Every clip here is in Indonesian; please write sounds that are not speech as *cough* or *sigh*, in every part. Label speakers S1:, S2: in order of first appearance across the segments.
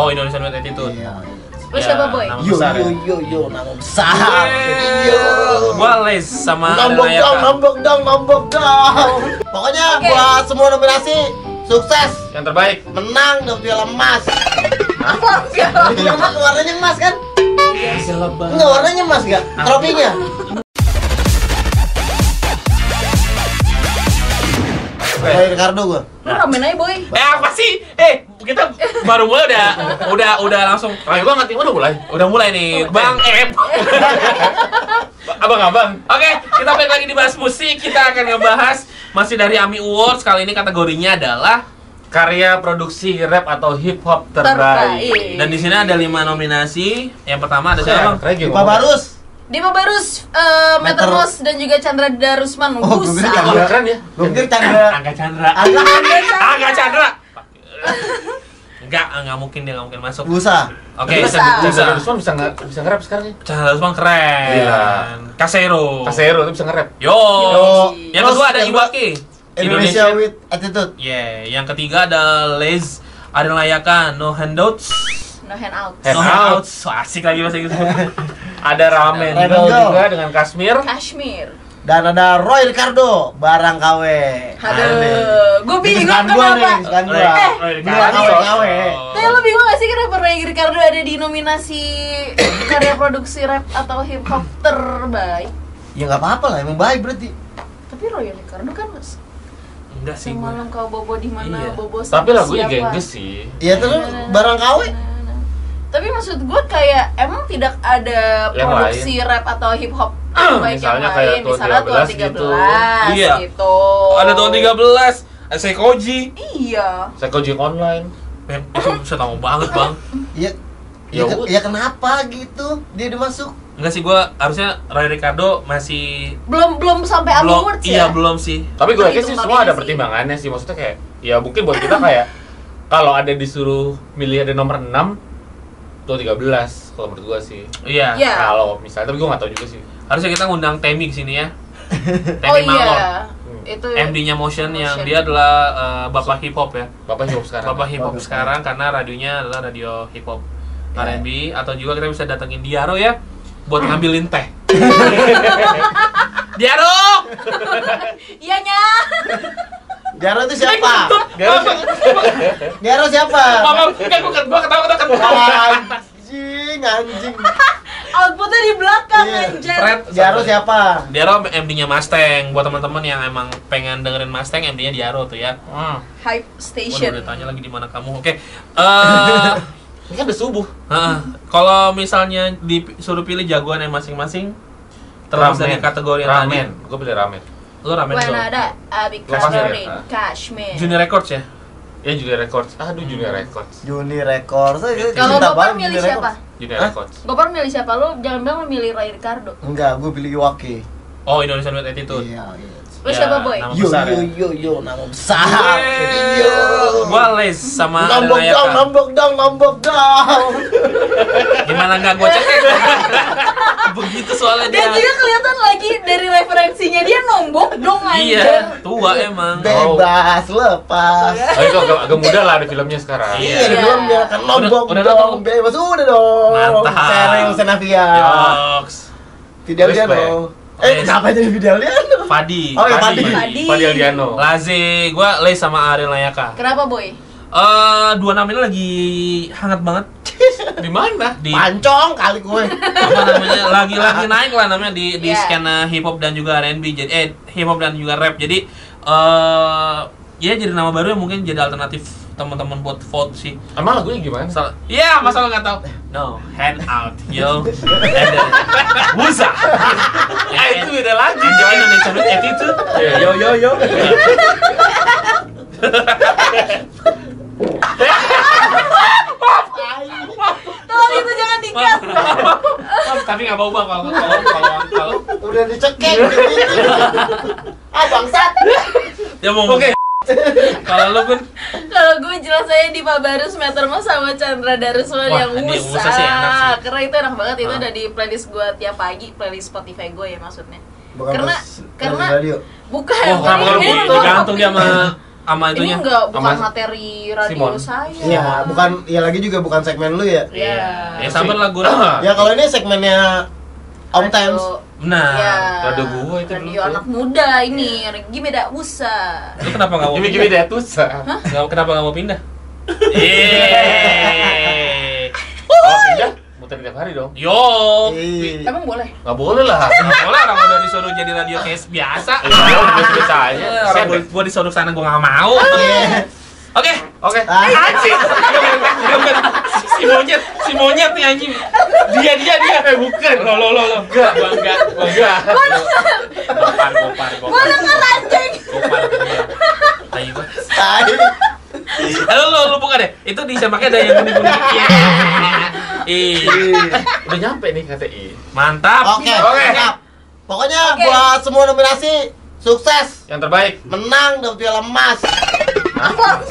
S1: Oh Indonesian with Attitude.
S2: Iya.
S3: Lu
S1: Ya,
S3: siapa boy?
S1: nama
S2: Yo
S1: besar
S2: yo
S1: ya.
S2: yo yo nama besar.
S1: Yeay.
S2: Yo.
S1: Gua les sama
S2: Nombok
S1: Nayaka.
S2: dong, nombok dong, nombok dong. Pokoknya
S3: Oke.
S2: buat semua nominasi sukses,
S1: Yang terbaik.
S2: menang dong piala emas.
S3: Apa enggak?
S2: Piala emas warnanya emas kan?
S1: Iya,
S2: Enggak
S1: Enggak.
S2: warnanya emas enggak?
S1: Ah.
S2: Trofinya. Kayak Ricardo gua.
S3: *laughs* Lu ramen aja boy
S1: Eh apa sih? Eh kita baru mulai udah udah udah langsung. Kayak gua ngerti udah mulai. Udah mulai nih. Bang Ep. *laughs* Abang-abang. Oke, kita balik lagi di bahas musik. Kita akan ngebahas masih dari AMI Awards. Kali ini kategorinya adalah karya produksi rap atau hip hop terbaik.
S3: Terbaik.
S1: Dan di sini ada lima nominasi. Yang pertama ada siapa, Bang?
S2: Pak Barus.
S3: Dima Barus, eh, Meter
S2: Meter-
S3: Rose, dan juga Chandra Darusman
S2: Oh, gue
S3: Buset
S2: bilang
S1: Wah,
S2: Chandra.
S1: keren ya.
S2: Gua pikir Chandra.
S1: Angga Chandra.
S2: Agak
S1: Angga Ah, Chandra. Enggak, ah, enggak mungkin dia enggak mungkin masuk. Oke,
S2: Busa.
S3: Bisa.
S1: bisa.
S4: Chandra Usman bisa nge- bisa nge-rap sekarang ya.
S1: Chandra Usman keren.
S4: Gila.
S1: Kasero.
S4: Kasero tuh bisa nge-rap.
S1: Yo.
S3: Yo.
S1: Yang kedua ada
S2: Terus yang
S1: Iwaki.
S2: Indonesia with attitude.
S1: Yeah. Yang ketiga ada Les. Ada layakan No Handouts.
S3: No hand out
S4: Hand
S1: no
S4: out.
S1: Handouts. Wah, asik lagi bahasa Inggris.
S4: Ada ramen
S2: Ramen
S4: Girl
S2: Girl.
S4: juga dengan Kashmir.
S3: Kashmir
S2: Dan ada Roy Ricardo, barang KW.
S3: Aduh, gue
S2: Ini
S3: bingung
S2: kesukaan gua nih,
S3: kenapa
S2: kesukaan gua.
S3: Eh,
S2: Gua
S3: tapi-
S2: KW.
S3: Tapi lo bingung gak sih kenapa Ray Ricardo ada di nominasi karya produksi rap atau hip hop terbaik
S2: Ya nggak apa-apa lah, emang baik berarti.
S3: Tapi Roy Ricardo kan
S1: Enggak sih. gua.
S3: semalam kau bobo di mana
S1: Iya.
S3: bobo sama
S4: Tapi lagunya
S3: siapa.
S4: gengges sih.
S2: Ya terus barang KW.
S3: Tapi maksud gue kayak emang tidak ada
S4: Yang
S3: produksi rap atau hip
S1: *clears throat*
S3: hop terbaik
S4: Misalnya
S3: yang
S4: kayak
S3: lain.
S4: Tuan
S3: Misalnya Tuan 13
S4: 13 gitu.
S3: gitu.
S1: Iya. Ada tahun 13. Ada Sekoji.
S3: Iya.
S4: Psychojic Online.
S1: Mem, itu bisa tahu banget, Bang.
S2: Ya, ya,
S4: Ya
S2: ke-
S4: udah.
S2: ya kenapa gitu dia dimasuk?
S1: Enggak sih gua harusnya Roy Ricardo masih
S3: Belum belum sampai Ami
S1: belum
S3: Awards
S1: iya
S3: ya.
S1: belum sih.
S4: Tapi gue
S3: Itu
S4: yakin sih
S3: hitung
S4: semua ada
S3: nominasi.
S4: pertimbangannya sih. Maksudnya kayak ya mungkin buat kita kayak *laughs* kalau ada disuruh milih ada nomor 6 tuh 13 kalau menurut gue sih.
S1: Iya.
S3: Iya.
S4: Kalau misalnya tapi gue nggak tahu juga sih.
S1: Harusnya kita ngundang Temi ke sini ya.
S3: *laughs* Oh
S1: Temi
S3: iya.
S1: Mangor.
S3: Itu
S1: MD-nya Motion yang
S3: Motion.
S1: dia adalah eh, bapak hip hop ya.
S4: Bapak hip hop sekarang.
S1: Bapak hip hop
S2: Bagus.
S1: sekarang karena radionya adalah radio hip hop
S2: Iya.
S1: R&B atau juga kita bisa datengin Diaro ya buat ngambilin
S2: *laughs*
S1: teh. Diaro!
S3: Iya nya. *laughs*
S2: Diaro itu siapa? Diaro siapa?
S1: Mama, kan gua gua ketawa ketawa ketawa.
S2: Anjing, anjing.
S3: Outputnya di belakang
S2: Iya.
S3: anjir.
S1: Fred,
S2: Diaro siapa?
S1: Diaro MD-nya Mustang buat teman-teman yang emang pengen dengerin Mustang MD-nya Diaro tuh ya.
S4: Hmm.
S3: Hype
S1: Waduh,
S3: Station.
S1: udah tanya lagi di mana kamu. Oke.
S2: *laughs*
S1: Eh
S4: Ini kan udah subuh.
S1: Heeh. Kalau misalnya disuruh pilih jagoannya masing-masing terlepas dari kategori yang
S4: ramen. Gue pilih ramen.
S1: tadi. Lu ramen
S3: When
S1: dong.
S3: ada Abi
S4: Lepas ya?
S3: Kabarin
S4: Ah.
S3: Kashmir.
S1: Junior Records ya?
S4: Ya Junior Records. Aduh Junior Records.
S2: Juni Record. Saya cinta
S3: Kalau Gopar
S2: banget
S3: milih
S2: Juni
S3: siapa?
S2: Records.
S4: Junior
S2: Hah?
S4: Records.
S3: Gopar milih siapa? Lu jangan bilang lu milih Ray Ricardo.
S2: Enggak, gue pilih Iwaki.
S1: Oh, Indonesian with Attitude.
S2: Iya, iya.
S3: Lu
S1: Ya,
S3: siapa boy?
S1: nama
S2: Yo
S1: besar
S2: yo
S1: ya.
S2: yo yo nama besar.
S1: Yeay.
S2: Yo.
S1: Gua les sama
S2: Nombok
S1: Arenaya
S2: dong,
S1: Kak.
S2: nombok dong, nombok dong.
S1: Gimana nggak gua cek? *laughs* Begitu soalnya
S3: Dia
S1: dia.
S3: juga kelihatan lagi dari referensinya dia nombok dong
S1: Iya,
S3: anjir.
S1: tua emang.
S2: Bebas lepas.
S4: Oh itu agak, agak muda lah ada filmnya sekarang.
S1: Iya.
S2: Iya, di filmnya kan nombok
S1: Udah- udah
S2: dong,
S1: nonton?
S2: bebas udah dong.
S1: Mantap.
S2: Sharing Senavia.
S1: Yoks.
S2: Fidel
S4: Respect.
S2: Diano.
S1: Oke.
S2: Eh, kenapa jadi Fidel Diano?
S1: Fadi.
S2: Oh, iya,
S3: Fadi.
S4: Fadi Aldiano.
S1: Laze, gua les sama Ariel Nayaka.
S3: Kenapa boy?
S1: Eh, dua nama ini lagi hangat banget
S4: Di mana?
S1: di
S2: Pancong kali
S1: *laughs*
S2: gue.
S1: apa namanya
S3: *laughs*
S1: lagi-lagi naik lah namanya di di
S3: Iya.
S1: skena hip hop dan juga R&B jadi eh hip hop dan juga rap jadi eh ya jadi nama baru yang mungkin jadi alternatif teman-teman buat vote sih
S4: Emang lagunya gimana?
S1: Sal- Iya, masa lo nggak tahu? No, hand out, *laughs* yo. And then,
S4: *laughs*
S1: Wusa.
S4: Eh,
S1: Ya, itu beda lagi. Jangan Indonesia with attitude.
S4: Yo yo yo.
S3: Tolong itu jangan dikat.
S1: Tapi nggak bau bang kalau kalau kalau kalau.
S2: Udah dicekek
S1: Iya.
S2: gitu. Ah, bangsat.
S1: Ya mau. Oke. Kalau lo pun
S3: Kalau gue jelas saya di Pabarus Metermo sama Chandra Darusman
S1: Wah,
S3: yang
S1: ini
S3: usah.
S1: Musa sih enak sih.
S3: Karena itu enak banget itu
S1: Ah.
S3: ada di playlist gue tiap pagi, playlist Spotify gue ya maksudnya.
S2: Bukan
S3: Karena-
S2: pas-
S3: karena-
S2: radio.
S3: Bukan.
S1: Oh,
S3: Boy.
S1: kenapa kalau
S3: Ini
S1: di-
S3: memang
S1: digantung dia sama sama
S3: Iya, Ini
S1: itunya?
S3: enggak bukan
S4: Sama
S3: materi radio
S4: Simon.
S3: saya.
S2: Iya, bukan ya lagi juga bukan segmen lu ya.
S3: Iya.
S1: Ya sabar lah gue. Nah,
S2: Ya kalau ini segmennya Om Times.
S1: Nah, Ah,
S3: Iya.
S4: radio gua itu dulu
S3: Radio
S4: tuh.
S3: anak muda ini, energi beda usaha.
S1: lu kenapa nggak mau
S4: Ini
S1: pindah?
S4: gini deh tusa.
S1: Nggak- Kenapa nggak mau pindah? Yeay.
S4: Kalau pindah Oh, iya. muter tiap hari dong.
S1: Yo,
S2: Ih.
S3: Emang boleh?
S4: Nggak boleh lah.
S1: nggak boleh orang udah disuruh jadi radio case biasa.
S4: Iya, biasa biasa aja.
S1: Eh,
S4: Set
S1: Orang
S4: deh.
S1: gua, gua disuruh sana gua nggak mau.
S3: *laughs*
S2: Iya.
S1: Oke,
S4: Oke. Iya,
S2: Ah,
S1: anjing. si monyet, si monyet nih anjing. Dia dia dia.
S4: Iya,
S1: Eh bukan. Lo lo lo lo. Enggak, gua enggak. Gua enggak. Gopar gopar
S3: Gua
S1: gopar.
S3: denger anjing.
S1: Gopar. Ayo gua.
S2: Tai.
S1: Halo lo lo buka deh. Itu di semaknya ada yang kuning-kuning. Iya. Ih,
S2: Ih.
S4: Udah nyampe nih KTI.
S1: mantap.
S2: Oke,
S4: Oke.
S2: mantap. Pokoknya
S3: Oke.
S2: buat semua nominasi sukses,
S4: Yang terbaik.
S2: menang dapat piala emas.
S3: Apa
S2: Ini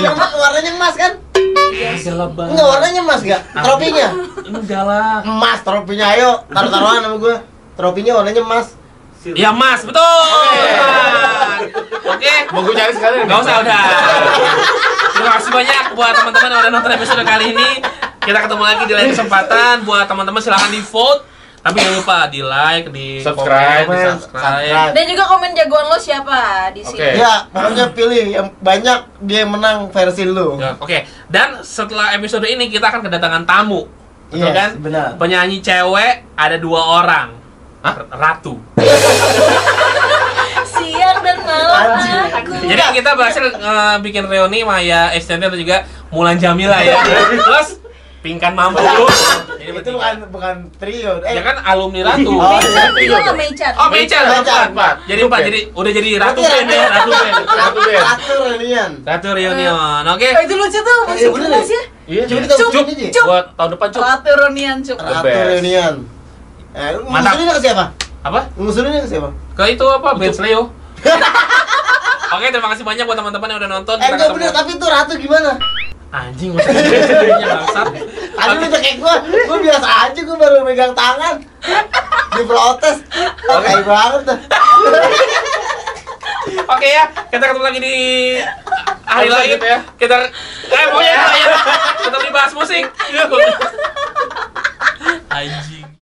S2: piala emas warnanya emas kan?
S1: Enggak
S2: Enggak warnanya emas enggak? Trofinya
S1: Enggak lah.
S2: emas, trofinya ayo taruh-taruhan sama gue. Trofinya warnanya emas.
S1: Ya Mas, betul. Mas. Oke.
S4: Mau gue cari sekali.
S1: Gak usah udah. Terima kasih banyak buat teman-teman yang udah nonton episode kali ini. Kita ketemu lagi di lain kesempatan. Buat teman-teman silahkan di vote. Tapi jangan lupa di like, di
S4: Subscribe.
S1: komen, di subscribe.
S2: ya. Subscribe.
S3: Dan juga komen jagoan lo siapa di sini.
S4: Oke.
S1: Eh.
S2: Ya, pokoknya pilih yang banyak dia yang menang versi lu.
S1: Ya, Oke, dan setelah episode ini kita akan kedatangan tamu, betul
S2: Yes,
S1: kan?
S2: benar.
S1: Penyanyi cewek ada dua orang,
S4: Hah?
S1: ratu.
S3: Siang dan malam
S2: Anjing. Iya,
S3: aku.
S1: Jadi kita berhasil eh, bikin reuni Maya Estianti dan juga Mulan Jamila
S2: *laughs*
S1: ya. Plus Pingkan Mampu.
S2: Eh.
S1: Jadi
S2: Itu
S1: bertiga.
S2: bukan bukan trio. Eh,
S1: Ya
S2: *laughs*
S1: kan alumni Ratu.
S2: Oh,
S3: Mecan,
S2: iya.
S3: bilang sama Mecan.
S1: Oh, Mecan.
S2: Mecan,
S1: Empat. Jadi empat.
S4: Oke.
S1: Jadi udah jadi Ratu
S2: Berarti
S1: Band ya, Ratu
S4: *laughs*
S1: Band.
S4: Satu deh.
S2: Ratu Relian.
S1: Ratu Reunion. Oke.
S3: Oh, itu lucu tuh, masih
S2: Iya, bener
S3: jelas
S2: ya?
S3: ya.
S4: Iya.
S2: Coba kita
S3: Cuk,
S2: usulin aja.
S3: cuk.
S4: Buat tahun depan cuk.
S3: Ratu Ronian cuk.
S4: Ratu.
S2: Ratu
S4: best.
S2: Relian. Eh, lu
S1: Mantap.
S2: ngusulinnya ke siapa?
S1: Apa?
S2: Ngusulinnya ke siapa?
S1: Ke itu apa? Benz
S4: *laughs*
S1: Leo. Oke, terima kasih banyak buat teman-teman yang udah nonton.
S2: Eh,
S1: Kita
S2: enggak
S1: ketemu-
S2: bener, tapi itu Ratu gimana?
S1: Anjing, gua
S4: *laughs*
S1: sebenarnya bangsat.
S2: Tadi lu cekek gua, gua biasa aja, gua baru megang
S1: *laughs*
S2: tangan Diprotes, kayak banget dah
S1: Oke ya, kita ketemu lagi di hari
S4: Episode
S1: lain
S4: gitu ya.
S1: Kita
S4: *laughs*
S1: eh pokoknya kita ya. Kita dibahas musik. Anjing.